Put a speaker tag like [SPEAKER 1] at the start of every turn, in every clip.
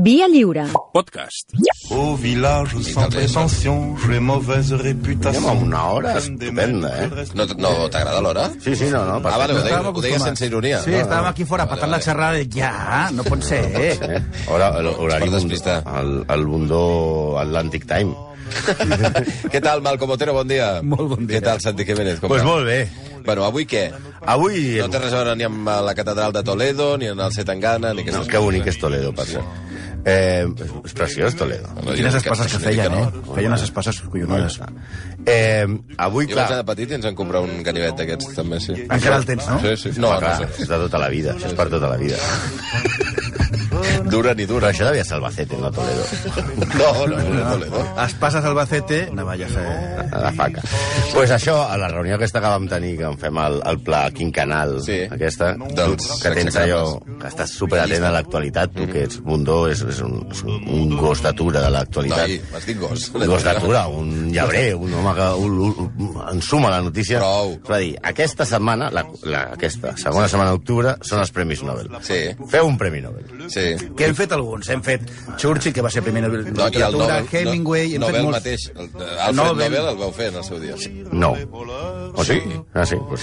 [SPEAKER 1] Via lliure.
[SPEAKER 2] Podcast.
[SPEAKER 3] Au village sans prétention, j'ai mauvaise réputation.
[SPEAKER 4] Anem a una hora estupenda, eh?
[SPEAKER 5] No, no t'agrada l'hora?
[SPEAKER 4] Sí, sí, no, no.
[SPEAKER 5] Ah, vale, ho
[SPEAKER 4] perfecte.
[SPEAKER 5] deia, ho deia sense ironia.
[SPEAKER 6] Sí, estàvem aquí fora patant la xerrada i ja, no pot ser.
[SPEAKER 4] Eh? Hora, el- horari
[SPEAKER 5] Per
[SPEAKER 4] bundó,
[SPEAKER 5] despistar.
[SPEAKER 4] el, el bundó Atlantic Time.
[SPEAKER 5] Què tal, Malcom Otero? Bon dia.
[SPEAKER 6] Molt bon dia.
[SPEAKER 5] Què tal, Santi Jiménez? Com
[SPEAKER 4] Doncs pues
[SPEAKER 5] va?
[SPEAKER 4] molt bé.
[SPEAKER 5] Bueno, avui què?
[SPEAKER 4] Avui...
[SPEAKER 5] No té res a veure ni amb la catedral de Toledo, ni en el Setangana, ni aquestes
[SPEAKER 4] No, que bonic és Toledo, per cert. Eh, és- és preciós, Toledo.
[SPEAKER 5] No,
[SPEAKER 6] Quines
[SPEAKER 5] jo-
[SPEAKER 6] espasses que
[SPEAKER 5] jo dic
[SPEAKER 6] feien,
[SPEAKER 5] no.
[SPEAKER 6] eh? Feien unes espasses collonades.
[SPEAKER 4] Eh, avui,
[SPEAKER 5] Jo vaig anar
[SPEAKER 4] clar...
[SPEAKER 5] de petit i ens van comprar un ganivet d'aquests, també, sí.
[SPEAKER 6] Encara el tens, no?
[SPEAKER 5] Sí, sí. No,
[SPEAKER 4] clar,
[SPEAKER 5] no,
[SPEAKER 4] és de tota la vida, és per tota la vida.
[SPEAKER 5] no. Dura ni
[SPEAKER 4] Però
[SPEAKER 5] dura.
[SPEAKER 4] això devia ser Albacete, no Toledo.
[SPEAKER 5] No, no, no, no, Toledo.
[SPEAKER 6] Espases Albacete, navalles... Eh?
[SPEAKER 4] a la faca. Doncs pues això, a la reunió aquesta que vam tenir, que en fem el, el pla quincanal,
[SPEAKER 5] Sí.
[SPEAKER 4] aquesta,
[SPEAKER 5] Dels
[SPEAKER 4] que
[SPEAKER 5] sexagrames.
[SPEAKER 4] tens allò, que estàs superatent a l'actualitat,
[SPEAKER 5] Mm.
[SPEAKER 4] tu que ets bundó, és, és, un, és un, un gos d'atura de l'actualitat.
[SPEAKER 5] Noi, m'has dit gos.
[SPEAKER 4] Un gos d'atura, un llebrer, un home que un, un, ensuma la notícia.
[SPEAKER 5] Prou.
[SPEAKER 4] Va dir, aquesta setmana, la, la, aquesta segona setmana d'octubre, són els Premis Nobel.
[SPEAKER 5] Sí.
[SPEAKER 4] Feu un Premi Nobel.
[SPEAKER 5] Sí.
[SPEAKER 6] Que hem fet alguns, hem fet Churchill, que va ser primer Nobel de
[SPEAKER 5] No, i el
[SPEAKER 6] Literatura,
[SPEAKER 5] Nobel,
[SPEAKER 6] Hemingway...
[SPEAKER 5] no,
[SPEAKER 6] hem fet
[SPEAKER 5] Nobel
[SPEAKER 6] molts-
[SPEAKER 5] mateix. El, Alfred
[SPEAKER 6] Nobel.
[SPEAKER 5] Nobel. el vau fer en el seu dia. Oh, Sí.
[SPEAKER 4] No. O sí? Ah, sí, pues,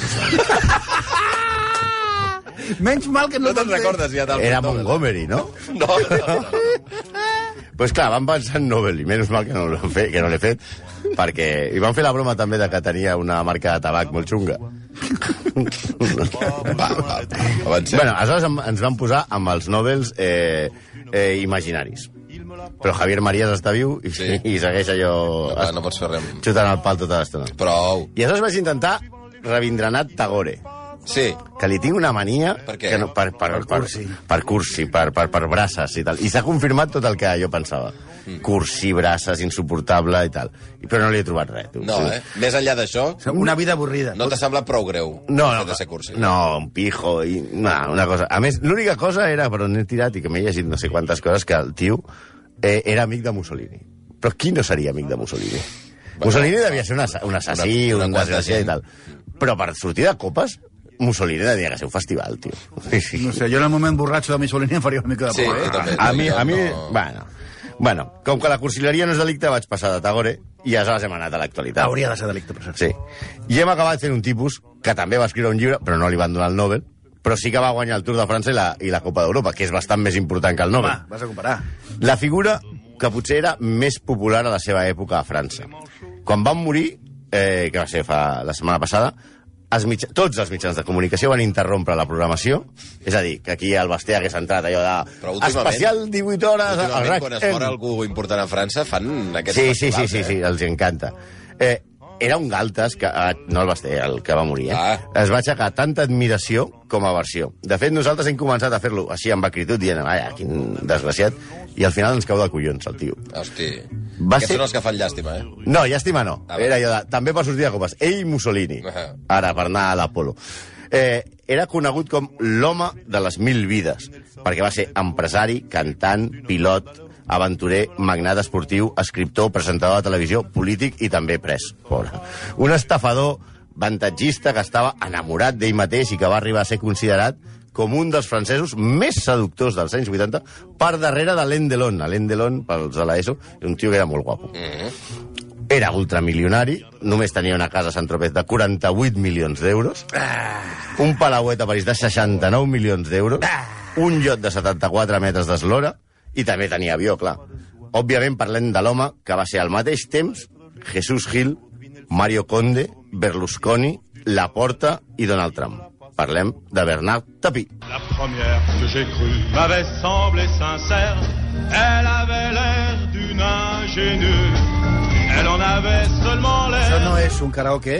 [SPEAKER 6] Menys mal que no,
[SPEAKER 5] No te'n recordes ja d'Alfred
[SPEAKER 4] era
[SPEAKER 5] Nobel?
[SPEAKER 4] Montgomery, no?
[SPEAKER 5] No, no, no.
[SPEAKER 4] Pues clar, van pensar en Nobel, i menys mal que no l'he fet, que no l'he fet, perquè... I van fer la broma també de que tenia una marca de tabac molt xunga.
[SPEAKER 5] Va, va, avancem.
[SPEAKER 4] Bueno, aleshores em- ens van posar amb els Nobels eh, eh, imaginaris. Però Javier Marías està viu i,
[SPEAKER 5] Sí.
[SPEAKER 4] sí. i segueix allò
[SPEAKER 5] No, clar, Ah, no pots fer res.
[SPEAKER 4] xutant el pal tota l'estona.
[SPEAKER 5] Prou.
[SPEAKER 4] I aleshores vaig intentar Rabindranath Tagore,
[SPEAKER 5] Sí.
[SPEAKER 4] que li tinc una mania...
[SPEAKER 5] Per què?
[SPEAKER 4] Que no, per, per, per,
[SPEAKER 6] cursi.
[SPEAKER 4] Per cursi, per, per, per braces i tal. I s'ha confirmat tot el que jo pensava. Mm. Cursi, braces, insuportable i tal. I- Però no li he trobat res. Tu.
[SPEAKER 5] No, eh? Més enllà d'això,
[SPEAKER 6] Una vida avorrida.
[SPEAKER 5] no t'ha semblat prou greu
[SPEAKER 4] No,
[SPEAKER 5] el fet
[SPEAKER 4] no,
[SPEAKER 5] de ser cursi.
[SPEAKER 4] no, un pijo i... No, una cosa. A més, l'única cosa era, però n'he tirat i que m'he llegit no sé quantes coses, que el tio eh, era amic de Mussolini. Però qui no seria amic de Mussolini?
[SPEAKER 5] Bueno,
[SPEAKER 4] Mussolini devia ser un, assa un assassí,
[SPEAKER 5] una- una
[SPEAKER 4] un
[SPEAKER 5] quanta
[SPEAKER 4] desgraciat i
[SPEAKER 5] gent.
[SPEAKER 4] tal. Però per sortir de copes, Mussolini devia que ser un festival, tio. Sí, sí.
[SPEAKER 6] No sé, jo en el moment borratxo de Mussolini em faria una mica de
[SPEAKER 5] Sí,
[SPEAKER 6] por,
[SPEAKER 5] jo
[SPEAKER 6] eh?
[SPEAKER 5] també.
[SPEAKER 4] A mi,
[SPEAKER 5] jo
[SPEAKER 4] a mi,
[SPEAKER 5] no-
[SPEAKER 4] bueno, bueno, com que la cursileria no és delicte, vaig passar de Tagore i aleshores hem anat a l'actualitat.
[SPEAKER 6] Hauria de ser delicte, per cert.
[SPEAKER 4] Sí. I hem acabat fent un tipus que també va escriure un llibre, però no li van donar el Nobel, però sí que va guanyar el Tour de França i la, i la Copa d'Europa, que és bastant més important que el
[SPEAKER 6] Home,
[SPEAKER 4] Nobel.
[SPEAKER 6] vas a comparar.
[SPEAKER 4] La figura que potser era més popular a la seva època a França. Quan van morir, eh, que va ser fa la setmana passada, els mitja... tots els mitjans de comunicació van interrompre la programació, és a dir, que aquí el Basté hagués entrat allò
[SPEAKER 5] Però
[SPEAKER 4] de...
[SPEAKER 5] últimament-
[SPEAKER 4] Especial 18 hores... al
[SPEAKER 5] Últimament, quan es
[SPEAKER 4] RAC-M".
[SPEAKER 5] mor
[SPEAKER 6] eh,
[SPEAKER 5] algú important a França, fan aquests
[SPEAKER 4] Sí, sí, sí,
[SPEAKER 5] festivals,
[SPEAKER 4] sí,
[SPEAKER 5] eh?
[SPEAKER 4] sí, els encanta. Eh, era un galtes que... Ah, no el va ser el que va morir, eh?
[SPEAKER 5] Ah.
[SPEAKER 4] Es va aixecar tanta admiració com aversió. De fet, nosaltres hem començat a fer-lo així amb acritud, dient, vaja, quin desgraciat, i al final ens cau de collons, el tio.
[SPEAKER 5] eh? Hosti.
[SPEAKER 4] Va
[SPEAKER 5] Aquests
[SPEAKER 4] ser-
[SPEAKER 5] són els que fan llàstima, eh?
[SPEAKER 4] No, llàstima no.
[SPEAKER 5] Ah,
[SPEAKER 4] Era allò de... També per sortir de copes. Ell i Mussolini.
[SPEAKER 5] Ah.
[SPEAKER 4] Ara, per anar a l'Apolo. Eh, era conegut com l'home de les mil vides, perquè va ser empresari, cantant, pilot, aventurer, magnat esportiu, escriptor, presentador de televisió, polític i també pres. Pobre. Un estafador avantatgista que estava enamorat d'ell mateix i que va arribar a ser considerat com un dels francesos més seductors dels anys 80 per darrere de l'Alain Delon. Alain Delon, pels de l'ESO, un tio que era molt guapo. Era ultramilionari, només tenia una casa a Sant Tropez de 48 milions d'euros,
[SPEAKER 6] Ah.
[SPEAKER 4] un palauet a París de 69 milions d'euros,
[SPEAKER 6] Ah.
[SPEAKER 4] un llot de 74 metres d'eslora, i també tenia avió, clar. Òbviament parlem de l'home que va ser al mateix temps Jesús Gil, Mario Conde, Berlusconi, Laporta i Donald Trump. Parlem de Bernard Tapie.
[SPEAKER 3] La première que j'ai crue m'avait semblé sincère. Elle avait l'air d'une ingénue. Elle en avait seulement
[SPEAKER 6] Això
[SPEAKER 3] l'air.
[SPEAKER 6] no és un karaoke,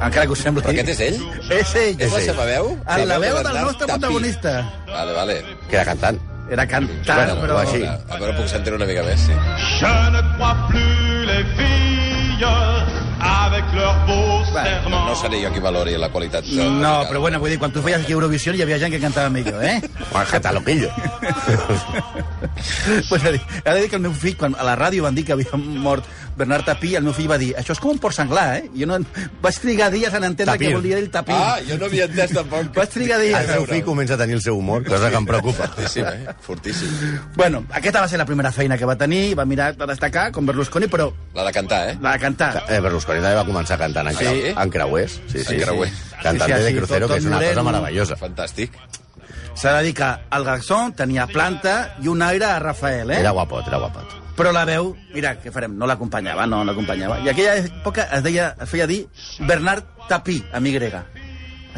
[SPEAKER 6] encara que us sembli.
[SPEAKER 5] Però aquest és ell?
[SPEAKER 6] És ell.
[SPEAKER 5] És la seva veu?
[SPEAKER 6] Ah, la veu del
[SPEAKER 5] Bernat
[SPEAKER 6] nostre
[SPEAKER 5] Tapie.
[SPEAKER 6] protagonista.
[SPEAKER 5] Vale, vale.
[SPEAKER 4] que era cantant.
[SPEAKER 6] Era cantant,
[SPEAKER 4] Bueno,
[SPEAKER 6] però...
[SPEAKER 4] va així.
[SPEAKER 5] A veure, puc sentir una mica més, sí.
[SPEAKER 3] Je ne crois plus les filles. avec leurs beaux serments.
[SPEAKER 5] No seré jo qui valori la qualitat. de-
[SPEAKER 6] No, però bueno, vull dir, quan tu feies aquí Eurovisió hi havia gent que cantava millor, eh?
[SPEAKER 4] Juan Catalopillo.
[SPEAKER 6] pues ha, dit, ha de dir que el meu fill, quan a la ràdio van dir que havia mort Bernard Tapí, el meu fill va dir, això és com un porc senglar, eh? Jo no... Vaig trigar dies en entendre
[SPEAKER 4] Tapir.
[SPEAKER 6] què volia dir el Tapí.
[SPEAKER 5] Ah, jo no havia entès tampoc.
[SPEAKER 6] Vaig trigar dies.
[SPEAKER 4] El seu fill comença a tenir el seu humor, cosa que em preocupa.
[SPEAKER 5] Fortíssim, eh? Fortíssim.
[SPEAKER 6] Bueno, aquesta va ser la primera feina que va tenir, va mirar per destacar, com Berlusconi, però
[SPEAKER 5] La de cantar, eh?
[SPEAKER 6] la de cantar.
[SPEAKER 4] Eh, Berlusconi també va començar cantant en,
[SPEAKER 5] Sí?
[SPEAKER 4] sí? en creuers. Sí, sí,
[SPEAKER 5] En creuers.
[SPEAKER 6] Sí,
[SPEAKER 4] Cantante
[SPEAKER 6] sí,
[SPEAKER 4] de
[SPEAKER 6] sí,
[SPEAKER 4] crucero,
[SPEAKER 6] tot-
[SPEAKER 4] que és una
[SPEAKER 6] tot
[SPEAKER 4] cosa
[SPEAKER 6] moreno.
[SPEAKER 4] meravellosa.
[SPEAKER 5] Fantàstic.
[SPEAKER 6] S'ha de dir que el garçon tenia planta i un aire a Rafael, eh?
[SPEAKER 4] Era guapot, era guapot.
[SPEAKER 6] Però la veu, mira, què farem? No l'acompanyava, no l'acompanyava. I aquella època es, deia, es feia dir Bernard Tapí, amb Y.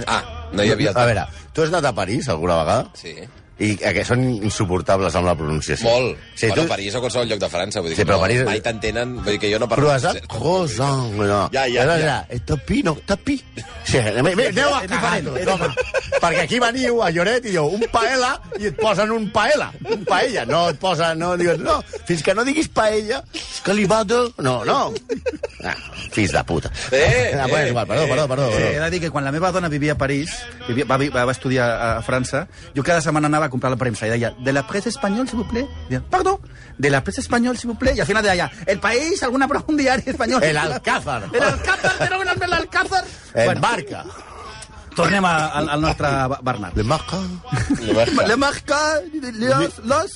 [SPEAKER 5] Ah, no hi havia...
[SPEAKER 4] A veure, tu has anat a París alguna vegada?
[SPEAKER 5] Sí.
[SPEAKER 4] I eh, que són insuportables amb la pronunciació.
[SPEAKER 5] Molt. Sí,
[SPEAKER 4] Sí,
[SPEAKER 5] bueno,
[SPEAKER 4] tu...
[SPEAKER 5] París o qualsevol lloc de França. Vull dir
[SPEAKER 4] Sí,
[SPEAKER 5] que
[SPEAKER 4] però
[SPEAKER 5] no,
[SPEAKER 4] París-
[SPEAKER 5] Mai t'entenen... Vull dir que jo no parlo...
[SPEAKER 4] Croissant, croissant, no.
[SPEAKER 5] Ja, ja,
[SPEAKER 4] Era,
[SPEAKER 5] ja.
[SPEAKER 4] era, eh, Tapí, no, tapí. Sí, me- me- aneu a
[SPEAKER 6] És
[SPEAKER 4] cagar,
[SPEAKER 6] diferent,
[SPEAKER 4] tu,
[SPEAKER 6] és
[SPEAKER 4] home. Perquè aquí veniu a Lloret i diu un paella i et posen un paella, un paella. No et posen, no, dius, no, fins que no diguis paella, és que li va de... No, no. Ah, fills de puta.
[SPEAKER 5] Eh,
[SPEAKER 4] ah, bueno,
[SPEAKER 5] eh,
[SPEAKER 4] és igual, perdó, perdó, perdó.
[SPEAKER 6] Sí, he
[SPEAKER 4] perdó.
[SPEAKER 6] de dir que quan la meva dona vivia a París, vivia, va, vi- va, va estudiar a, a França, jo cada setmana anava a comprar la premsa i deia, de la premsa espanyola, si vous plaît? Deia, perdó, de la premsa espanyola, si vous plaît? I al final deia, el país, alguna prova, un diari espanyol.
[SPEAKER 4] El Alcázar.
[SPEAKER 6] El Alcázar, però no el Alcázar.
[SPEAKER 4] En barca.
[SPEAKER 6] tornem a, al, al nostre Ba- Bernard.
[SPEAKER 4] Le marca.
[SPEAKER 5] Ah,
[SPEAKER 6] La marca, los, los...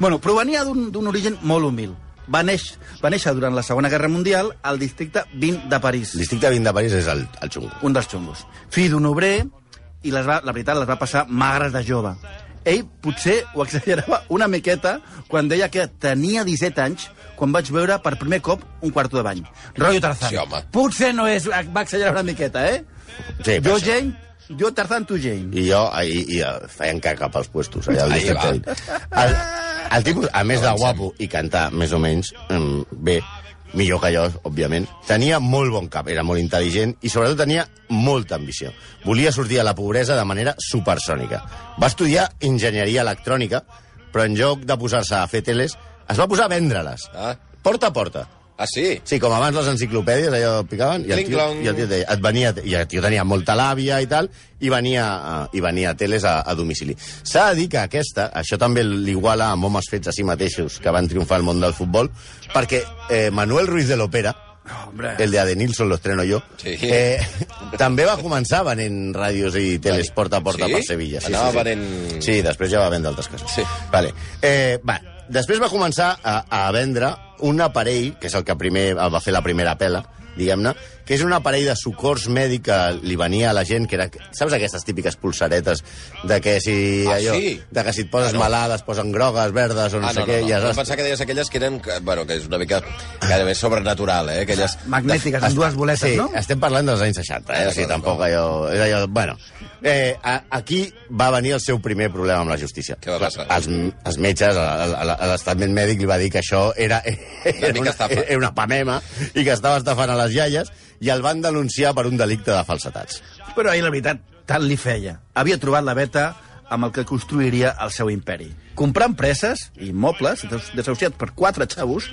[SPEAKER 6] Bueno, provenia d'un d'un origen molt humil. Va, neix, va néixer durant la Segona Guerra Mundial al districte 20 de París,
[SPEAKER 4] El districte 20 de París és el, el xungo.
[SPEAKER 6] un dels xungos. Fill d'un obrer, i les va, la veritat, les va passar magres de jove. Ell potser ho exagerava una miqueta quan deia que tenia 17 anys quan vaig veure per primer cop un quarto de bany. Rollo Tarzán.
[SPEAKER 5] Sí, home.
[SPEAKER 6] potser no és... Va exagerar una miqueta, eh?
[SPEAKER 4] Sí, per
[SPEAKER 6] jo,
[SPEAKER 4] això.
[SPEAKER 6] Jane, jo Tarzán, tu, Jane.
[SPEAKER 4] I jo i, i eh, feien caca pels puestos allà al
[SPEAKER 5] Ahí
[SPEAKER 4] districte. El, el tipus, a més de guapo i cantar més o menys mm, bé, millor que jo, òbviament, tenia molt bon cap, era molt intel·ligent i sobretot tenia molta ambició. Volia sortir a la pobresa de manera supersònica. Va estudiar enginyeria electrònica, però en lloc de posar-se a fer teles, es va posar a vendre-les.
[SPEAKER 5] Ah.
[SPEAKER 4] Porta a porta.
[SPEAKER 5] Ah, sí?
[SPEAKER 4] Sí, com abans les enciclopèdies, allò picaven, i el
[SPEAKER 5] Cling
[SPEAKER 4] tio,
[SPEAKER 5] clong.
[SPEAKER 4] i el tio deia, et venia, i el tio tenia molta làbia i tal, i venia, eh, i venia a teles a, a domicili. S'ha de dir que aquesta, això també l'iguala amb homes fets a si mateixos que van triomfar al món del futbol, perquè eh, Manuel Ruiz de l'Opera,
[SPEAKER 6] Hombre.
[SPEAKER 4] el de Adenilson, lo estreno jo,
[SPEAKER 5] Sí.
[SPEAKER 4] eh, també va començar venent ràdios i teles porta a porta
[SPEAKER 5] Sí?
[SPEAKER 4] per Sevilla.
[SPEAKER 5] Anava venent-
[SPEAKER 4] Sí, després ja va vendre altres coses.
[SPEAKER 5] Sí.
[SPEAKER 4] Vale. Eh, va, després va començar a, a vendre un aparell, que és el que primer va fer la primera pela, diguem-ne, que és un aparell de socors mèdic que li venia a la gent, que era... Saps aquestes típiques pulsaretes de que si...
[SPEAKER 5] Ah,
[SPEAKER 4] allò,
[SPEAKER 5] sí?
[SPEAKER 4] De que si et poses
[SPEAKER 5] Ah, no.
[SPEAKER 4] malades posen grogues, verdes o no
[SPEAKER 5] ah,
[SPEAKER 4] sé
[SPEAKER 5] no,
[SPEAKER 4] què...
[SPEAKER 5] no,
[SPEAKER 4] i
[SPEAKER 5] no.
[SPEAKER 4] aleshores-
[SPEAKER 5] Jo pensava que deies aquelles que eren... que- Bueno, que és una mica gairebé sobrenatural, eh? Aquelles...
[SPEAKER 6] Magnètiques, amb dues boletes,
[SPEAKER 4] sí,
[SPEAKER 6] no?
[SPEAKER 4] estem parlant dels anys 60, eh? O sigui, tampoc allò... És allò bueno, eh, a, aquí va venir el seu primer problema amb la justícia.
[SPEAKER 5] Què va
[SPEAKER 4] Clar,
[SPEAKER 5] passar?
[SPEAKER 4] Els, els metges, a- a- a- a l'estament mèdic li va dir que això era,
[SPEAKER 5] Una
[SPEAKER 4] era,
[SPEAKER 5] mica
[SPEAKER 4] una,
[SPEAKER 5] estafa.
[SPEAKER 4] era una pamema i que estava estafant a les iaies i el van denunciar per un delicte de falsetats.
[SPEAKER 6] Però ell, la veritat, tant li feia. Havia trobat la beta amb el que construiria el seu imperi. Comprar empreses i immobles, des- desahuciat per quatre xavos,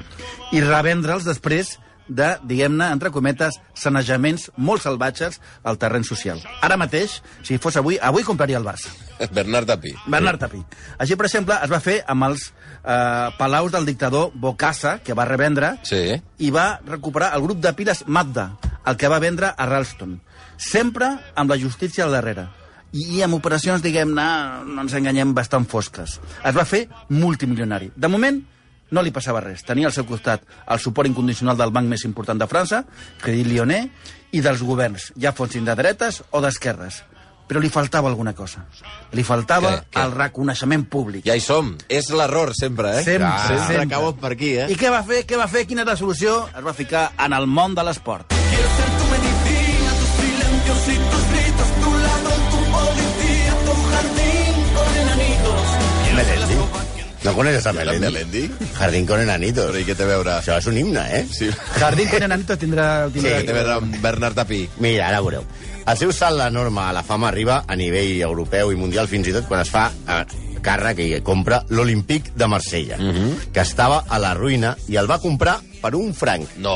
[SPEAKER 6] i revendre'ls després de, diguem-ne, entre cometes, sanejaments molt salvatges al terreny social. Ara mateix, si fos avui, avui compraria el Barça.
[SPEAKER 5] Bernard Tapí.
[SPEAKER 6] Bernard Tapí. Així, per exemple, es va fer amb els eh, palaus del dictador Bocassa, que va revendre,
[SPEAKER 5] Sí.
[SPEAKER 6] i va recuperar el grup de piles Mazda, el que va vendre a Ralston. Sempre amb la justícia al darrere. I, i amb operacions, diguem-ne, no ens enganyem, bastant fosques. Es va fer multimilionari. De moment, no li passava res. Tenia al seu costat el suport incondicional del banc més important de França, Credit Lyonnais, i dels governs, ja fossin de dretes o d'esquerres. Però li faltava alguna cosa. Li faltava
[SPEAKER 5] Què? Què?
[SPEAKER 6] el reconeixement públic.
[SPEAKER 5] Ja hi som. És l'error, sempre, eh?
[SPEAKER 6] Sempre,
[SPEAKER 5] Ah,
[SPEAKER 6] sempre.
[SPEAKER 5] acabo per aquí, eh?
[SPEAKER 6] I què va fer? Què va fer? Quina era la solució? Es va ficar en el món de l'esport.
[SPEAKER 4] Melendi. No coneixes a Melendi?
[SPEAKER 5] Melendi?
[SPEAKER 4] Jardín con
[SPEAKER 5] Però
[SPEAKER 4] enanitos.
[SPEAKER 5] i què té a veure?
[SPEAKER 4] Això és un himne, eh?
[SPEAKER 5] Sí.
[SPEAKER 6] Jardín que Nanito tindrà...
[SPEAKER 5] Què
[SPEAKER 6] tindrà
[SPEAKER 5] té a veure amb Bernard Tapí?
[SPEAKER 4] Mira, ara veureu. El seu salt d'enorme a la fama arriba a nivell europeu i mundial fins i tot quan es fa eh, càrrec i compra l'Olímpic de Marsella, que estava a la ruïna i el va comprar per un franc.
[SPEAKER 5] No.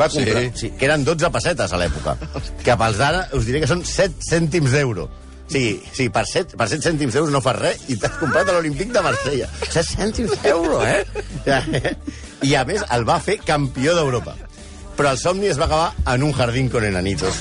[SPEAKER 4] Va comprar, sí. Sí, que eren 12 pessetes a l'època. Que pels d'ara us diré que són 7 cèntims d'euro. Sí, sí, per 7, per 7 cèntims d'euros no fas res i t'has comprat a l'Olímpic de Marsella. 7 cèntims d'euro, eh? I a més el va fer campió d'Europa. Però el somni es va acabar en un jardín con enanitos.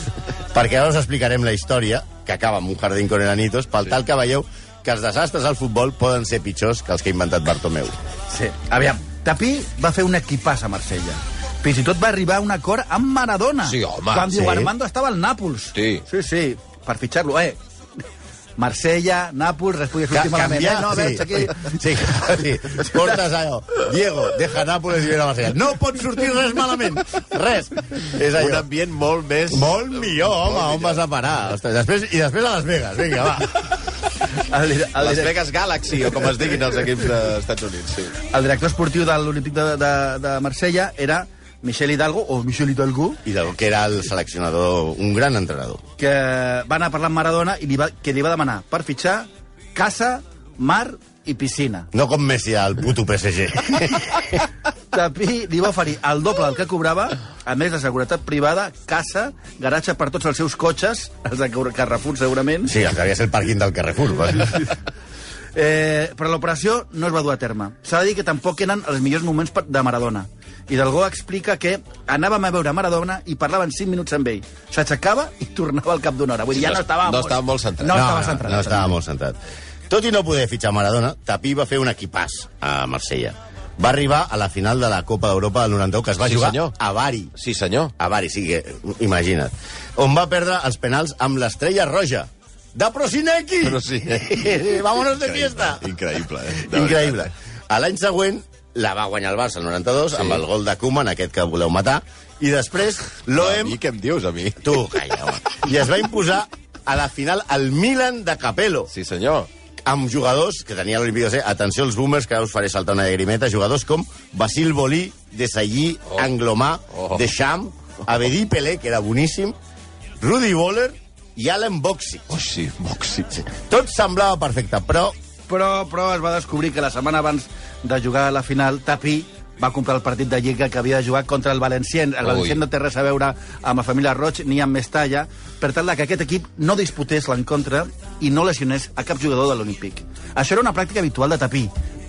[SPEAKER 4] Perquè ara us explicarem la història, que acaba amb un jardín con enanitos, pel sí. tal que veieu que els desastres al futbol poden ser pitjors que els que ha inventat Bartomeu.
[SPEAKER 6] Sí. Aviam, Tapí va fer un equipàs a Marsella. Fins i tot va arribar a un acord amb Maradona.
[SPEAKER 5] Sí, home.
[SPEAKER 6] Quan
[SPEAKER 4] Sí.
[SPEAKER 6] diu Armando estava al Nàpols.
[SPEAKER 5] Sí.
[SPEAKER 6] Sí, sí, per fitxar-lo. Eh, Marsella, Nàpols, res podia sortir malament. Eh, no, veig aquí...
[SPEAKER 4] Sí, sí, sí. Portes allò. Diego, deja Nàpoles i ve a Marsella. No pot sortir res malament. Res. És
[SPEAKER 1] Un
[SPEAKER 4] allò.
[SPEAKER 1] ambient molt més...
[SPEAKER 4] Molt millor, home, on vas a parar? Ostres, després, I després a Las Vegas, vinga, va.
[SPEAKER 6] El, dir- el,
[SPEAKER 1] Las
[SPEAKER 6] dir-
[SPEAKER 1] Vegas Galaxy, o com es diguin els equips dels Estats Units, sí.
[SPEAKER 6] el director esportiu de l'Olímpic de, de, de Marsella era Michel Hidalgo, o Michel Hidalgo,
[SPEAKER 4] I del que era el seleccionador, un gran entrenador.
[SPEAKER 6] que va anar a parlar amb Maradona i li va, que li va demanar per fitxar casa, mar i piscina.
[SPEAKER 4] No com Messi al puto PSG.
[SPEAKER 6] Tapí li va oferir el doble del que cobrava, a més de seguretat privada, casa, garatge per tots els seus cotxes, els de Carrefour segurament,
[SPEAKER 4] Sí, el que havia de ser el pàrquing del Carrefour. Però...
[SPEAKER 6] eh, però l'operació no es va dur a terme. S'ha de dir que tampoc eren els millors moments per- de Maradona. Hidalgo explica que anàvem a veure Maradona i parlaven 5 minuts amb ell. S'aixecava i tornava al cap d'una hora. Vull dir, ja
[SPEAKER 5] no-
[SPEAKER 6] no estava
[SPEAKER 5] no
[SPEAKER 6] molt...
[SPEAKER 5] estava molt centrat.
[SPEAKER 6] No,
[SPEAKER 5] No,
[SPEAKER 6] estava centrat.
[SPEAKER 4] No, no estava molt centrat. Tot i no poder fitxar Maradona, Tapí va fer un equipàs a Marsella. Va arribar a la final de la Copa d'Europa del 91, que es va
[SPEAKER 5] Sí,
[SPEAKER 4] jugar
[SPEAKER 5] senyor.
[SPEAKER 4] a Bari.
[SPEAKER 5] Sí, senyor.
[SPEAKER 4] A Bari, sí que... Imagina't. On va perdre els penals amb l'estrella roja de Prosinecki!
[SPEAKER 1] Però sí.
[SPEAKER 4] Vámonos de fiesta!
[SPEAKER 1] Increïble, eh? De
[SPEAKER 4] Increïble. A l'any següent la va guanyar el Barça, el 92, sí. amb el gol de Koeman, aquest que voleu matar, i després
[SPEAKER 1] veritat. A
[SPEAKER 4] l'OM...
[SPEAKER 1] mi què em dius, a mi?
[SPEAKER 4] Tu, calla, home. I es va imposar a la final al Milan de Capello
[SPEAKER 1] Sí, senyor.
[SPEAKER 4] amb jugadors que tenia l'Olímpic de ser, atenció als boomers, que ara us faré saltar una llagrimeta, jugadors com Basil Bolí, Desallí, oh. Anglomà, oh.
[SPEAKER 5] Oh.
[SPEAKER 4] Deschamps, Abedí Pelé, que era boníssim, Rudy Boller i Allen Boxi.
[SPEAKER 1] Oh, sí, Moxi.
[SPEAKER 4] Tot semblava perfecte, però
[SPEAKER 6] Però, però es va descobrir que la setmana abans de jugar a la final, Tapí va comprar el partit de Lliga que havia de jugar contra el Valencien. El
[SPEAKER 5] Ui.
[SPEAKER 6] Valencien no té res a veure amb la família Roig ni amb Mestalla, per tal de que aquest equip no disputés l'encontre i no lesionés a cap jugador de l'Olímpic. Això era una pràctica habitual de Tapí,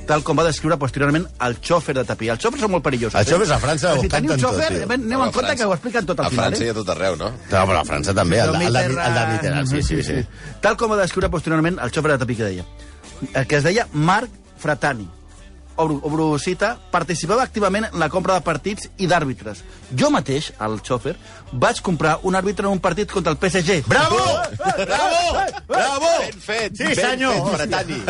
[SPEAKER 6] tal com va descriure posteriorment el xòfer de Tapí. Els xòfers són molt perillosos. eh?
[SPEAKER 4] Els xòfers a França
[SPEAKER 6] si
[SPEAKER 4] ho
[SPEAKER 6] teniu un
[SPEAKER 4] canten tot,
[SPEAKER 6] xòfer,
[SPEAKER 4] tio.
[SPEAKER 6] aneu
[SPEAKER 5] Home,
[SPEAKER 6] en
[SPEAKER 5] a
[SPEAKER 6] compte
[SPEAKER 5] França-
[SPEAKER 6] que ho expliquen tot al
[SPEAKER 1] A
[SPEAKER 6] final.
[SPEAKER 1] França
[SPEAKER 6] eh?
[SPEAKER 1] i a tot arreu, no?
[SPEAKER 4] No, però a França també, el, de- el, de- el, de- el de Mitterrand, sí, sí, sí.
[SPEAKER 6] Tal com va descriure posteriorment el xòfer de tapí que deia. El que es deia Marc Fratani. Obro, obro cita, participava activament en la compra de partits i d'àrbitres. Jo mateix, el xòfer, vaig comprar un àrbitre en un partit contra el PSG.
[SPEAKER 4] Bravo! Bravo! Bravo!
[SPEAKER 1] Ben fet,
[SPEAKER 4] Sí,
[SPEAKER 1] ben
[SPEAKER 4] senyor.
[SPEAKER 1] fet, Bretani.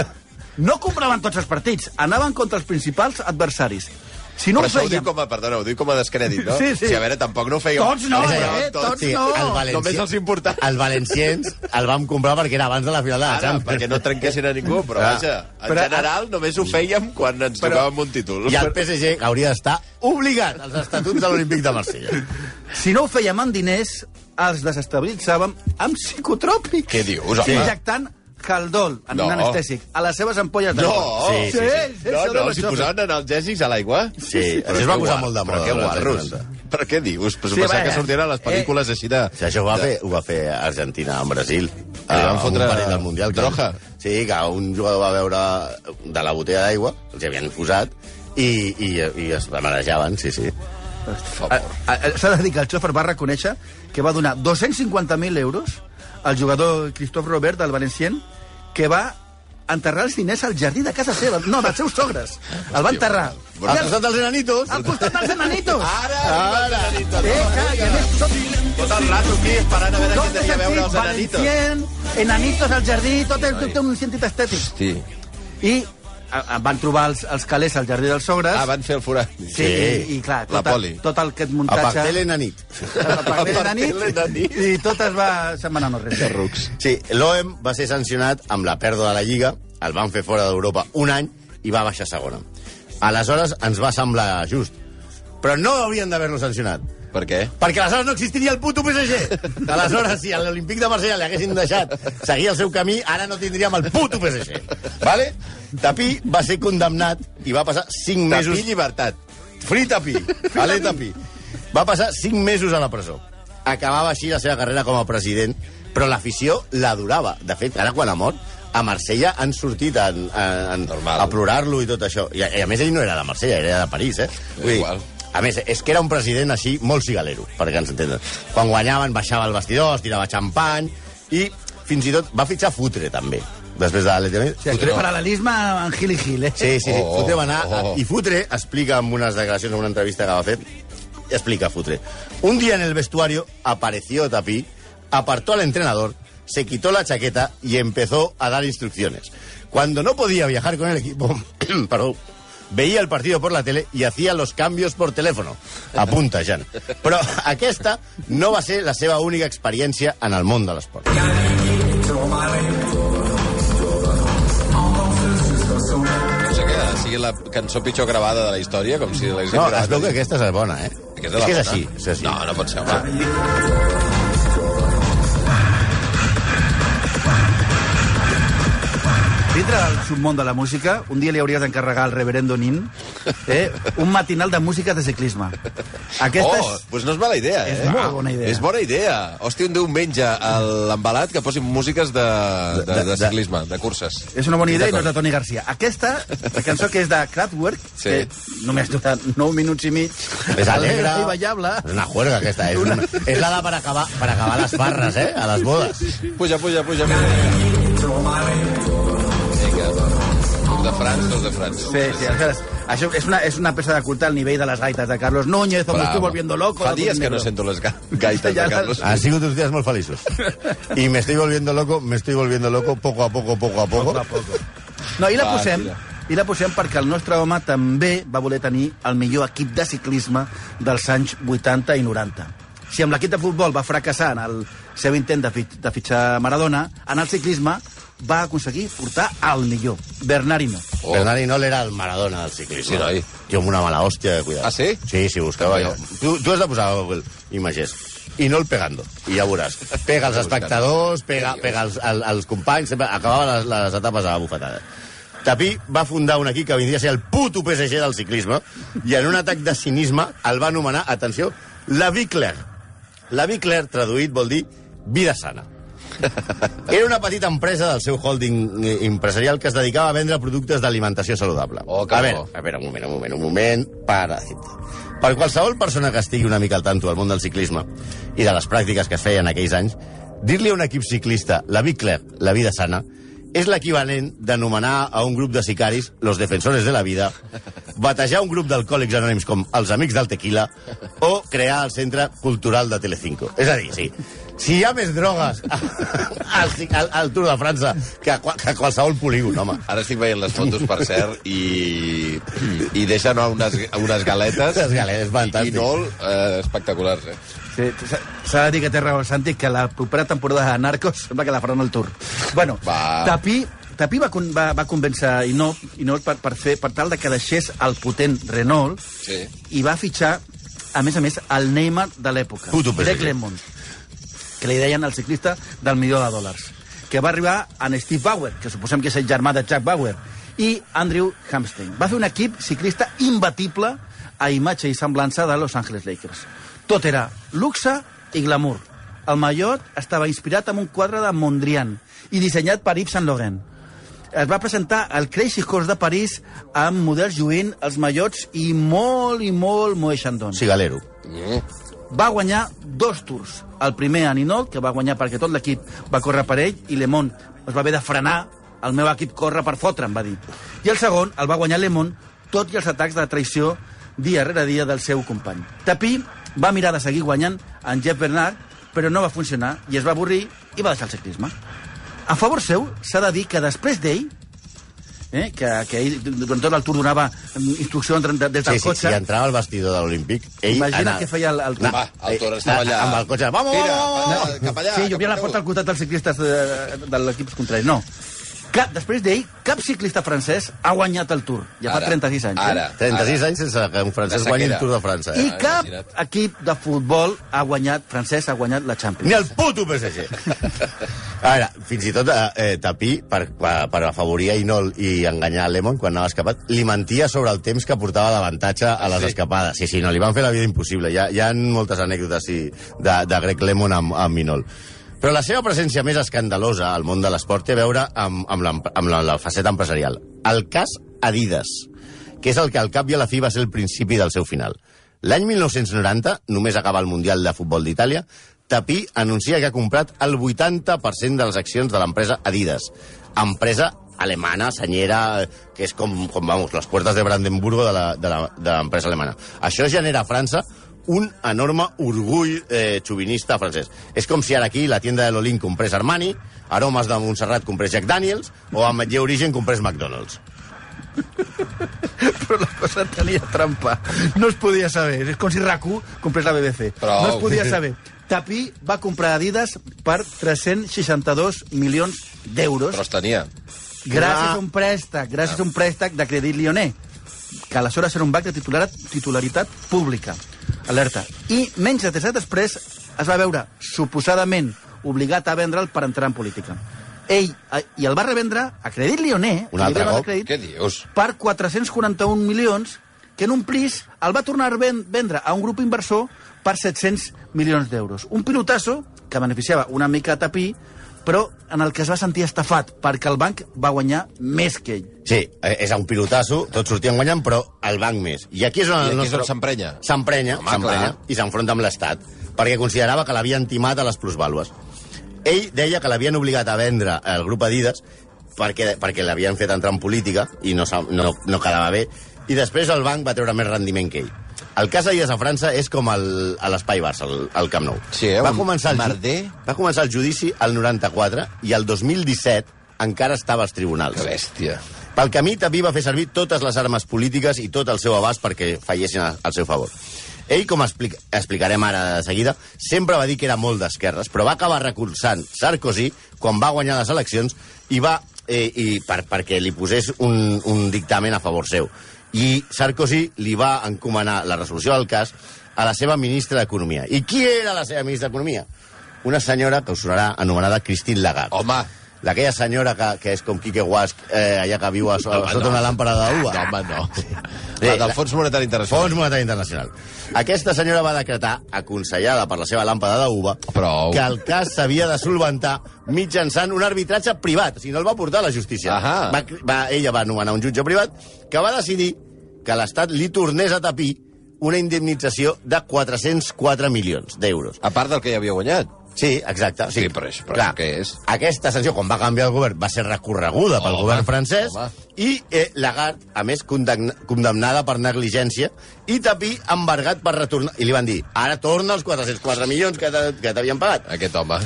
[SPEAKER 6] No compraven tots els partits, anaven contra els principals adversaris. Si no
[SPEAKER 1] Però
[SPEAKER 6] ho
[SPEAKER 1] això ho diu
[SPEAKER 6] feien...
[SPEAKER 1] com a, perdona, ho diu com a descrèdit, no?
[SPEAKER 6] Sí, sí.
[SPEAKER 1] Si, a veure, tampoc no ho fèiem.
[SPEAKER 6] Tots no,
[SPEAKER 1] Però
[SPEAKER 6] eh? Tots
[SPEAKER 4] Sí,
[SPEAKER 6] no.
[SPEAKER 4] el Valencia...
[SPEAKER 1] Només els importava.
[SPEAKER 4] El Valenciens el vam comprar perquè era abans de la final de la
[SPEAKER 1] Ara,
[SPEAKER 4] Champions.
[SPEAKER 1] perquè no trenquessin a ningú, però
[SPEAKER 4] Clar.
[SPEAKER 1] vaja, en
[SPEAKER 6] Però- ah,
[SPEAKER 1] general només ho fèiem quan ens
[SPEAKER 6] Però-
[SPEAKER 1] tocàvem un títol.
[SPEAKER 4] I el PSG hauria d'estar obligat als estatuts de l'Olímpic de Marsella.
[SPEAKER 6] Si no ho fèiem amb diners, els desestabilitzàvem amb psicotròpics.
[SPEAKER 1] Què dius, home?
[SPEAKER 6] Sí. Injectant Haldol, en
[SPEAKER 1] No.
[SPEAKER 6] un anestèsic, a les seves ampolles de
[SPEAKER 1] No!
[SPEAKER 6] coca.
[SPEAKER 4] Sí, sí, sí.
[SPEAKER 1] No,
[SPEAKER 6] això
[SPEAKER 1] no, si
[SPEAKER 6] ho vaig fer.
[SPEAKER 1] posaven analgèsics a l'aigua...
[SPEAKER 4] Sí, això es va posar molt de moda
[SPEAKER 1] Però què
[SPEAKER 4] durant els
[SPEAKER 1] guarros.
[SPEAKER 4] 90.
[SPEAKER 1] Però què dius? Però
[SPEAKER 6] Sí,
[SPEAKER 1] sí, pensava
[SPEAKER 6] vaja.
[SPEAKER 1] que sortien a les pel·lícules així de...
[SPEAKER 4] Si eh, això ho va, fer, ho va fer Argentina amb Brasil.
[SPEAKER 1] Ah,
[SPEAKER 4] Eh,
[SPEAKER 1] van
[SPEAKER 4] amb
[SPEAKER 1] fotre
[SPEAKER 4] un partit del Mundial.
[SPEAKER 1] droga.
[SPEAKER 4] Sí, que un jugador va veure de la botella d'aigua, els hi havien posat, i, i, i es manejaven, sí, sí.
[SPEAKER 6] A- a- S'ha de dir que el xòfer va reconèixer que va donar 250.000 euros al jugador Christophe Robert del Valencien, que va enterrar els diners al jardí de casa seva. No, dels seus sogres. El va enterrar.
[SPEAKER 4] Al
[SPEAKER 6] I
[SPEAKER 4] costat dels enanitos...
[SPEAKER 6] Al, al costat dels enanitos.
[SPEAKER 1] Ara!
[SPEAKER 4] Ara!
[SPEAKER 6] Eh, clar, i a més, són
[SPEAKER 1] Tot el rato aquí esperant a veure què
[SPEAKER 6] dos de
[SPEAKER 1] tenia a veure els enanitos.
[SPEAKER 6] sentit, Valencien, enanitos al jardí, tot el, té un sentit estètic.
[SPEAKER 5] Sí.
[SPEAKER 6] I a, a, van trobar els, els calés al jardí dels sogres.
[SPEAKER 1] Ah, van fer el forat.
[SPEAKER 6] Sí, i, i clar,
[SPEAKER 1] La
[SPEAKER 6] tot,
[SPEAKER 4] tota-
[SPEAKER 6] el,
[SPEAKER 1] poli.
[SPEAKER 6] tot el, aquest
[SPEAKER 4] A
[SPEAKER 6] muntatge...
[SPEAKER 4] partir l'enanit.
[SPEAKER 6] A partir de la
[SPEAKER 1] A partir de la
[SPEAKER 6] nit.
[SPEAKER 1] nit.
[SPEAKER 6] I tot es va... Se'n va anar no res.
[SPEAKER 4] Sí, l'OM va ser sancionat amb la pèrdua de la Lliga, el van fer fora d'Europa un any i va baixar a segona. Aleshores ens va semblar just, però no haurien d'haver-lo sancionat.
[SPEAKER 1] Per què?
[SPEAKER 4] Perquè aleshores no existiria el puto PSG. Aleshores, si a l'Olímpic de Marsella li haguessin deixat seguir el seu camí, ara no tindríem el puto PSG. Vale? Tapí va ser condemnat i va passar
[SPEAKER 1] Tapí
[SPEAKER 4] 5 mesos...
[SPEAKER 1] llibertat.
[SPEAKER 4] Frita Pi, Aleta Pi. Va passar 5 mesos a la presó. Acabava així la seva carrera com a president, però l'afició l'adorava. De fet, ara quan ha mort, a Marsella han sortit en, en, en,
[SPEAKER 5] Normal.
[SPEAKER 4] a plorar-lo i tot això. I a, i a més, ell no era de Marsella, era de París, eh? Vull dir,
[SPEAKER 5] Igual.
[SPEAKER 4] a més, és que era un president així molt cigalero, perquè ens entenen. Quan guanyaven, baixava el vestidor, es tirava xampany, i fins i tot va fitxar Futre, també. Després de l'Atlètic.
[SPEAKER 6] O sigui, aquí paral·lelisme en Gil i Gil, eh?
[SPEAKER 4] Sí, sí, sí.
[SPEAKER 5] Oh,
[SPEAKER 4] Oh, Futre va anar...
[SPEAKER 5] oh.
[SPEAKER 4] Oh. I Futre explica en unes declaracions, en una entrevista que va fer, explica Futre. Un día en el vestuario apareció Tapí, apartó al entrenador, se quitó la chaqueta y empezó a dar instrucciones. Cuando no podía viajar con el equipo, perdón, veía el partido por la tele y hacía los cambios por teléfono. Apunta, Jan. Però aquesta no va ser la seva única experiència en el món de l'esport.
[SPEAKER 5] No sé què, sigui la cançó pitjor gravada de la història, com si l'haguessin
[SPEAKER 4] No,
[SPEAKER 5] gravat.
[SPEAKER 4] es veu que aquesta és bona, eh?
[SPEAKER 5] Aquesta
[SPEAKER 4] és
[SPEAKER 5] la
[SPEAKER 4] que és
[SPEAKER 5] bona.
[SPEAKER 4] així, és així.
[SPEAKER 5] No, no pot ser, home.
[SPEAKER 6] Dintre del submón de la música, un dia li hauries d'encarregar al reverendo Nin eh, un matinal de música de ciclisme. Aquesta
[SPEAKER 5] oh,
[SPEAKER 6] és...
[SPEAKER 5] doncs no és mala idea, eh?
[SPEAKER 6] és molt bona idea.
[SPEAKER 5] És bona idea. Hòstia, un diumenge a l'embalat que posin músiques de, de, de,
[SPEAKER 4] De- de-
[SPEAKER 5] ciclisme, de curses.
[SPEAKER 6] És una bona idea i no és de
[SPEAKER 5] D'acord.
[SPEAKER 6] Toni Garcia. Aquesta, la cançó que és de Kraftwerk,
[SPEAKER 5] Sí.
[SPEAKER 6] que només dura 9 minuts i mig,
[SPEAKER 4] És alegre.
[SPEAKER 6] i ballable.
[SPEAKER 4] És una juerga aquesta, és, una... és la de per acabar, per acabar les farres, eh? A les bodes.
[SPEAKER 5] Puja, puja, puja. Vinga. Tour doncs. de France, Tour de France.
[SPEAKER 6] Sí, sí, aleshores, això és una, és una peça de culte al nivell de les gaites de Carlos Núñez, com
[SPEAKER 5] Bravo.
[SPEAKER 6] estic volviendo loco.
[SPEAKER 5] Fa
[SPEAKER 6] loco
[SPEAKER 5] dies que
[SPEAKER 6] negro.
[SPEAKER 5] no sento les ga- gaites
[SPEAKER 6] Ja
[SPEAKER 5] de
[SPEAKER 6] les-
[SPEAKER 5] Carlos.
[SPEAKER 4] Han sido unos días muy felices. Y me estoy volviendo loco, me estoy volviendo loco poco a poco, poco a poco.
[SPEAKER 6] No, i la
[SPEAKER 5] Va,
[SPEAKER 6] posem...
[SPEAKER 5] tira.
[SPEAKER 6] I la posem perquè el nostre home també va voler tenir el millor equip de ciclisme dels anys 80 i 90. Si amb l'equip de futbol va fracassar en el seu intent de, fit, de fitxar Maradona, en el ciclisme va aconseguir portar el millor, Bernardino.
[SPEAKER 5] Oh.
[SPEAKER 4] Bernard Hinault era el Maradona del ciclisme.
[SPEAKER 5] Sí, noi.
[SPEAKER 4] Jo amb una mala hòstia de cuidar.
[SPEAKER 5] Ah, sí?
[SPEAKER 4] Sí, sí, buscava
[SPEAKER 5] Vaja.
[SPEAKER 4] jo. Tu, tu has de posar a Google imatges. I no el pegando, i ja veuràs. Pega als espectadors, pega, pega als, als, als companys, sempre acabava les, les etapes a la bufetada. Tapí va fundar un equip que vindria a ser el puto PSG del ciclisme i en un atac de cinisme el va anomenar, atenció, la Vicler. La Vicler, traduït, vol dir vida sana. Era una petita empresa del seu holding eh, empresarial que es dedicava a vendre productes d'alimentació saludable.
[SPEAKER 5] Oh, que
[SPEAKER 4] a
[SPEAKER 5] bo.
[SPEAKER 4] veure, a veure, un moment, un moment, un moment, para. Per qualsevol persona que estigui una mica al tanto del món del ciclisme i de les pràctiques que es feien aquells anys, dir-li a un equip ciclista, la Bicler, la vida sana, és l'equivalent d'anomenar a un grup de sicaris los defensores de la vida, batejar un grup d'alcohòlics anònims com els amics del tequila o crear el centre cultural de Telecinco. És a dir, sí, si hi ha més drogues al, al, al Tour de França que a, qua- que a qualsevol polígon, home.
[SPEAKER 5] Ara estic veient les fotos, per cert, i, i deixa anar unes, unes galetes.
[SPEAKER 4] Les galetes, fantàstic.
[SPEAKER 5] I, i nol, eh, espectaculars, eh?
[SPEAKER 6] Sí, s'ha- S'ha de dir que té raó el Santi, que la propera temporada de Narcos sembla que la faran al Tour. Bueno,
[SPEAKER 5] Va.
[SPEAKER 6] Tapí, Tapí va, con- va, va convèncer Inol, Inol per, per, fer, per tal de que deixés el potent Renault
[SPEAKER 5] Sí.
[SPEAKER 6] i va fitxar, a més a més, el Neymar de l'època,
[SPEAKER 4] Puto PSG.
[SPEAKER 6] Greg LeMond, que li deien el ciclista del milió de dòlars, que va arribar en Steve Bauer, que suposem que és el germà de Jack Bauer, i Andrew Hamstein. Va fer un equip ciclista imbatible a imatge i semblança de Los Angeles Lakers. Tot era luxe i glamour. El mallot estava inspirat en un quadre de Mondrian i dissenyat per Yves Saint Laurent es va presentar al Crazy Horse de París amb models lluint, els mallots i molt i molt Moe Chandon. Sí.
[SPEAKER 4] Cigalero.
[SPEAKER 6] Va guanyar dos tours. El primer a Ninol, que va guanyar perquè tot l'equip va córrer per ell, i Le Monde es va haver de frenar. El meu equip corre per fotre, em va dir. I el segon el va guanyar Le Monde, tot i els atacs de traïció dia rere dia del seu company. Tapí va mirar de seguir guanyant en Jeff Bernard, però no va funcionar i es va avorrir i va deixar el ciclisme. A favor seu, s'ha de dir que després d'ell, eh, que, que ell durant tot el tour donava mm, instruccions de- des del
[SPEAKER 4] Sí, sí,
[SPEAKER 6] cotxe...
[SPEAKER 4] si entrava al vestidor de l'Olímpic, ell
[SPEAKER 6] Imagina't
[SPEAKER 4] anava-
[SPEAKER 6] què feia el- el-
[SPEAKER 4] Na-
[SPEAKER 5] Va, el Toro estava
[SPEAKER 4] eh,
[SPEAKER 5] allà.
[SPEAKER 4] Amb el cotxe, vamos,
[SPEAKER 5] Tira,
[SPEAKER 4] vamos,
[SPEAKER 5] va,
[SPEAKER 4] vamos.
[SPEAKER 5] cap allà,
[SPEAKER 6] sí, jo
[SPEAKER 5] cap
[SPEAKER 6] obria la
[SPEAKER 5] allà.
[SPEAKER 6] porta al costat dels ciclistes de, de l'equip eh, contrari. No. Cap, després d'ell, cap ciclista francès ha guanyat el Tour. Ja
[SPEAKER 5] Ara,
[SPEAKER 6] fa 36 anys. eh?
[SPEAKER 5] ara.
[SPEAKER 4] 36 anys sense que un francès
[SPEAKER 5] La
[SPEAKER 4] guanyi el
[SPEAKER 5] sequera.
[SPEAKER 4] Tour de França.
[SPEAKER 6] I
[SPEAKER 4] Eh?
[SPEAKER 6] cap
[SPEAKER 5] imagina't.
[SPEAKER 6] equip de futbol ha guanyat, francès ha guanyat la Champions.
[SPEAKER 4] Ni el puto PSG. Ara, fins i tot eh, eh, Tapí, per, per, per afavorir a Inol i enganyar a Lemon quan anava escapat, li mentia sobre el temps que portava d'avantatge a les sí. escapades. Sí, sí, no, li van fer la vida impossible. Hi ha, hi ha moltes anècdotes sí, de, de Greg Lemon amb, amb Inol. Però la seva presència més escandalosa al món de l'esport té a veure amb, amb, l'em- amb la, la faceta empresarial. El cas Adidas que és el que al cap i a la fi va ser el principi del seu final. L'any 1990, només acaba el Mundial de Futbol d'Itàlia, Tapí anuncia que ha comprat el 80% de les accions de l'empresa Adidas, empresa alemana, senyera, eh, que és com, com vamos, les puertes de Brandenburgo de la- de la- de l'empresa alemana. Això genera a França un enorme orgull eh, xovinista francès. És com si ara aquí la tienda de l'Olin comprés Armani, Aromes de Montserrat comprés Jack Daniels o Ametller Origen comprés McDonald's.
[SPEAKER 6] Però la cosa tenia trampa. No es podia saber. És com si RAC1 comprés la BBC.
[SPEAKER 5] Prou.
[SPEAKER 6] No es podia saber. Tapí va comprar Adidas per 362 milions d'euros
[SPEAKER 5] Però es tenia.
[SPEAKER 6] gràcies
[SPEAKER 4] Ah.
[SPEAKER 6] a un préstec, gràcies a un préstec de Credit Lyonnais, que aleshores era un banc de titular, titularitat pública. Alerta. I menys de tres anys després es va veure suposadament obligat a vendre'l per entrar en política. Ell eh, i el va revendre a Credit Lyonnais,
[SPEAKER 4] Un
[SPEAKER 6] que li
[SPEAKER 4] altre
[SPEAKER 6] dona
[SPEAKER 4] cop?
[SPEAKER 6] crèdit,
[SPEAKER 5] Què dius?
[SPEAKER 6] per 441 milions, que en un plis el va tornar a ven- vendre a un grup inversor per 700 milions d'euros. Un pilotasso que beneficiava una mica a Tapí, però en el que es va sentir estafat, perquè el banc va guanyar més que ell.
[SPEAKER 4] Sí, eh, és un pilotasso, tots sortien guanyant, però el banc més. I aquí és on
[SPEAKER 5] I
[SPEAKER 4] el
[SPEAKER 5] aquí és
[SPEAKER 4] nostre...
[SPEAKER 5] on s'emprenya.
[SPEAKER 4] S'emprenya,
[SPEAKER 5] Home,
[SPEAKER 4] s'emprenya,
[SPEAKER 5] clar.
[SPEAKER 4] i s'enfronta amb l'Estat, perquè considerava que l'havien timat a les plusvàlues. Ell deia que l'havien obligat a vendre al grup Adidas perquè, perquè l'havien fet entrar en política i no, s'ha- no, no quedava bé, i després el banc va treure més rendiment que ell. El cas Adidas a França és com el, a l'Espai Barça, al, al Camp Nou.
[SPEAKER 5] Sí, eh,
[SPEAKER 4] va
[SPEAKER 5] un
[SPEAKER 4] començar el, ju-
[SPEAKER 5] merder.
[SPEAKER 4] Va començar el judici al 94 i al 2017 encara estava als tribunals.
[SPEAKER 5] Que bèstia.
[SPEAKER 4] Pel camí, Tapí va fer servir totes les armes polítiques i tot el seu abast perquè fallessin a- al seu favor. Ell, com explic explicarem ara de seguida, sempre va dir que era molt d'esquerres, però va acabar recolzant Sarkozy quan va guanyar les eleccions i va eh, i per, perquè li posés un, un dictamen a favor seu. I Sarkozy li va encomanar la resolució del cas a la seva ministra d'Economia. I qui era la seva ministra d'Economia? Una senyora que us sonarà anomenada Christine Lagarde.
[SPEAKER 5] Home,
[SPEAKER 4] D'aquella senyora que, que és com Quique Guasc, eh, allà que viu a, so,
[SPEAKER 5] Home,
[SPEAKER 4] sota
[SPEAKER 5] no.
[SPEAKER 4] una làmpara d'uva.
[SPEAKER 5] no, home, no.
[SPEAKER 4] Sí,
[SPEAKER 5] La
[SPEAKER 4] la-
[SPEAKER 5] del Fons Monetari Internacional.
[SPEAKER 4] Fons Monetari Internacional. Aquesta senyora va decretar, aconsellada per la seva làmpada d'uva,
[SPEAKER 5] Prou.
[SPEAKER 4] que el cas s'havia de solventar mitjançant un arbitratge privat. O sigui, no el va portar a la justícia.
[SPEAKER 5] Ahà.
[SPEAKER 4] Va, va, ella va anomenar un jutge privat que va decidir que l'Estat li tornés a tapir una indemnització de 404 milions d'euros.
[SPEAKER 5] A part del que ja havia guanyat.
[SPEAKER 4] Sí, exacte.
[SPEAKER 5] Sí, però això- però això què és?
[SPEAKER 4] Aquesta sanció, quan va canviar el govern, va ser recorreguda pel
[SPEAKER 5] Home,
[SPEAKER 4] govern francès
[SPEAKER 5] home.
[SPEAKER 4] i eh, Lagarde, a més, condemna, condemnada per negligència i Tapí embargat per retornar... I li van dir, ara torna els 404 milions que t'ha- que t'havien pagat.
[SPEAKER 5] Aquest home.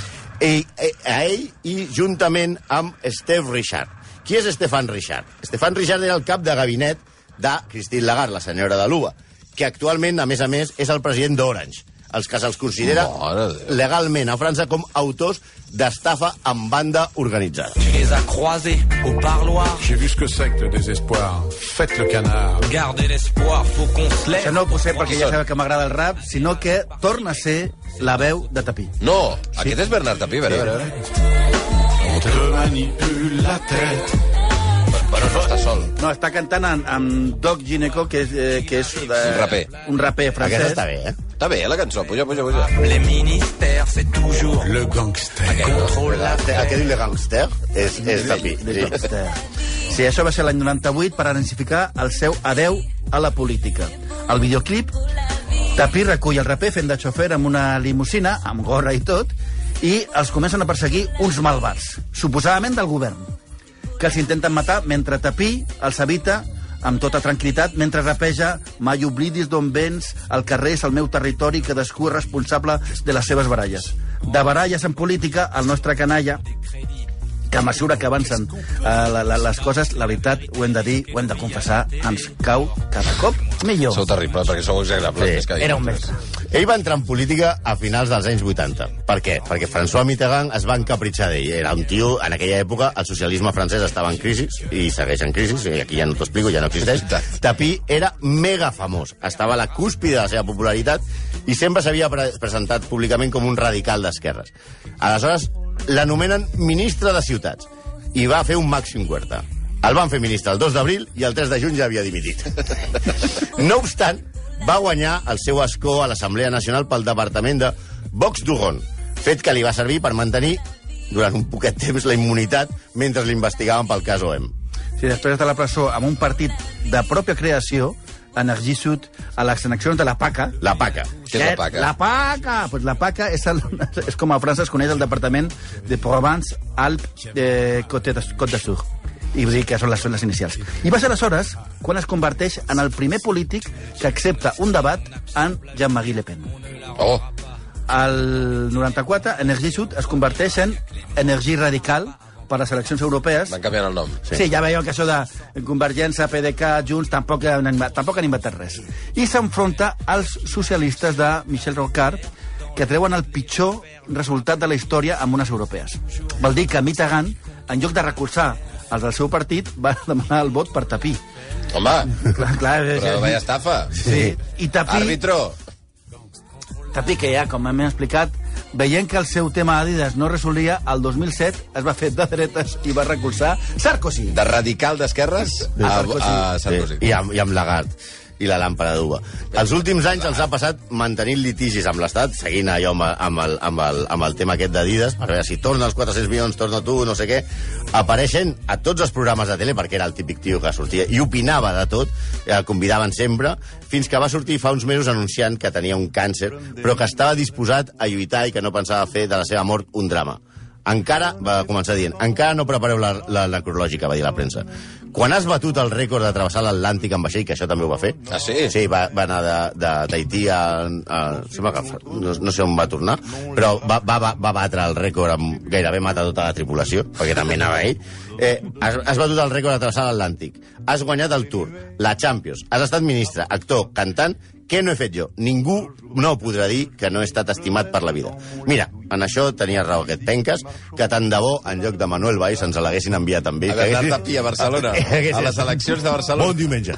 [SPEAKER 4] I, eh, a ell i juntament amb Steve Richard. Qui és Stefan Richard? Stefan Richard era el cap de gabinet de Christine Lagarde, la senyora de l'UBA, que actualment, a més a més, és el president d'Orange, els que se'ls considera
[SPEAKER 5] Mare de Déu.
[SPEAKER 4] legalment a França com autors d'estafa amb banda organitzada.
[SPEAKER 2] Tu les as croisés au parloir.
[SPEAKER 7] J'ai vu ce que c'est que le désespoir. Faites le canard.
[SPEAKER 2] Gardez l'espoir, faut qu'on se lève.
[SPEAKER 6] Això no ho posé perquè
[SPEAKER 5] Qui
[SPEAKER 6] ja
[SPEAKER 5] són?
[SPEAKER 6] sabeu que m'agrada el rap, sinó que torna a ser la veu de Tapí.
[SPEAKER 5] No, aquest és Bernard Tapí, a veure, a veure.
[SPEAKER 7] On te manipule la tête.
[SPEAKER 5] Bueno, no està sol.
[SPEAKER 6] No, està cantant amb, amb Doc Gineco, que és, eh, que és de,
[SPEAKER 5] Un raper.
[SPEAKER 6] un raper francès.
[SPEAKER 4] Aquesta està bé, eh?
[SPEAKER 5] Està bé, eh, la cançó. Puja, puja, puja.
[SPEAKER 2] Les ministères, c'est toujours
[SPEAKER 7] Le gangster.
[SPEAKER 2] contrôle la
[SPEAKER 4] El que diu Le Gangster és, és Tapí. Sí.
[SPEAKER 6] eh. Sí, això va ser l'any 98 per anunciar el seu adeu a la política. El videoclip, Tapí recull el raper fent de xofer amb una limusina, amb gorra i tot, i els comencen a perseguir uns malvats, suposadament del govern, que els intenten matar mentre Tapí els evita amb tota tranquil·litat, mentre rapeja mai oblidis d'on vens, el carrer és el meu territori, cadascú és responsable de les seves baralles. De baralles en política, el nostre canalla, que a mesura que avancen eh, la, la, les coses, la veritat, ho hem de dir, ho hem de confessar, ens cau cada cop Millor.
[SPEAKER 5] Sou terribles, perquè sou exagrables.
[SPEAKER 4] Sí.
[SPEAKER 5] més que
[SPEAKER 6] Era un
[SPEAKER 5] nosaltres.
[SPEAKER 6] mestre.
[SPEAKER 4] Ell va entrar en política a finals dels anys 80. Per què? Perquè François Mitterrand es va encapritxar d'ell. Era un tio, en aquella època, el socialisme francès estava en crisi, i segueix en crisi, i aquí ja no t'ho explico, ja no existeix. Tapí era mega famós, estava a la cúspide de la seva popularitat i sempre s'havia pre presentat públicament com un radical d'esquerres. Aleshores, l'anomenen ministre de ciutats i va fer un màxim huerta. El van fer ministre el 2 d'abril i el 3 de juny ja havia dimitit. No obstant, va guanyar el seu escó a l'Assemblea Nacional pel departament de Vox Dugon, fet que li va servir per mantenir durant un poquet temps la immunitat mentre l'investigaven pel cas OM.
[SPEAKER 6] Si després de la presó, amb un partit de pròpia creació, Energy Sud, a les eleccions de la PACA...
[SPEAKER 4] La paca.
[SPEAKER 5] Què és la PACA?
[SPEAKER 6] La PACA! Pues la PACA és, el, és com a França es coneix el departament de Provence, Alp, eh, Côte de, Côte de Sur. I vull dir que són les, són les inicials. I va ser aleshores quan es converteix en el primer polític que accepta un debat amb Jean-Marie Le Pen.
[SPEAKER 5] Oh,
[SPEAKER 6] El 94, Energy Sud es converteix en Energy Radical per a les eleccions europees.
[SPEAKER 5] van canviant el nom.
[SPEAKER 6] Sí. sí, ja veieu que això de Convergència, PDK, Junts, tampoc han, inva- tampoc han inventat res. I s'enfronta als socialistes de Michel Rocard, que treuen el pitjor resultat de la història amb unes europees. Vol dir que Mitterrand, en lloc de recolzar els del seu partit, va demanar el vot per Tapí.
[SPEAKER 5] Home,
[SPEAKER 6] Clar, clar,
[SPEAKER 5] però veia estafa.
[SPEAKER 6] sí. I Tapí...
[SPEAKER 5] Àrbitro.
[SPEAKER 6] Tapi, que ja, com hem explicat, veient que el seu tema Adidas no resolia, el 2007 es va fer de dretes i va recolzar Sarkozy.
[SPEAKER 5] De radical d'esquerres a, a Sarkozy.
[SPEAKER 4] I amb, i amb Lagarde i la làmpara d'uva. Els últims anys els ha passat mantenint litigis amb l'Estat, seguint allò amb, amb, el, amb, el, amb el tema aquest d'Adidas, per veure si torna els 400 milions, torna tu, no sé què. Apareixen a tots els programes de tele, perquè era el típic tio que sortia i opinava de tot, el convidaven sempre, fins que va sortir fa uns mesos anunciant que tenia un càncer, però que estava disposat a lluitar i que no pensava fer de la seva mort un drama. Encara, va començar dient, encara no prepareu la, la necrològica, va dir la premsa. Quan has batut el rècord de travessar l'Atlàntic amb vaixell, que això també ho va fer...
[SPEAKER 5] Ah, sí?
[SPEAKER 4] Sí, va, va anar de, de Tahití a... a sembla que, fa- no, no sé on va tornar, però va, va, va, va batre el rècord, amb, gairebé mata tota la tripulació, perquè també anava ell. Eh, has, has batut el rècord de travessar l'Atlàntic, has guanyat el Tour, la Champions, has estat ministre, actor, cantant, què no he fet jo? Ningú no podrà dir que no he estat estimat per la vida. Mira, en això tenia raó aquest penques, que tant de bo, en lloc de Manuel Valls, ens l'haguessin enviat amb ell.
[SPEAKER 5] A Bernat Tapí, a Barcelona. A les eleccions de Barcelona.
[SPEAKER 4] Bon diumenge.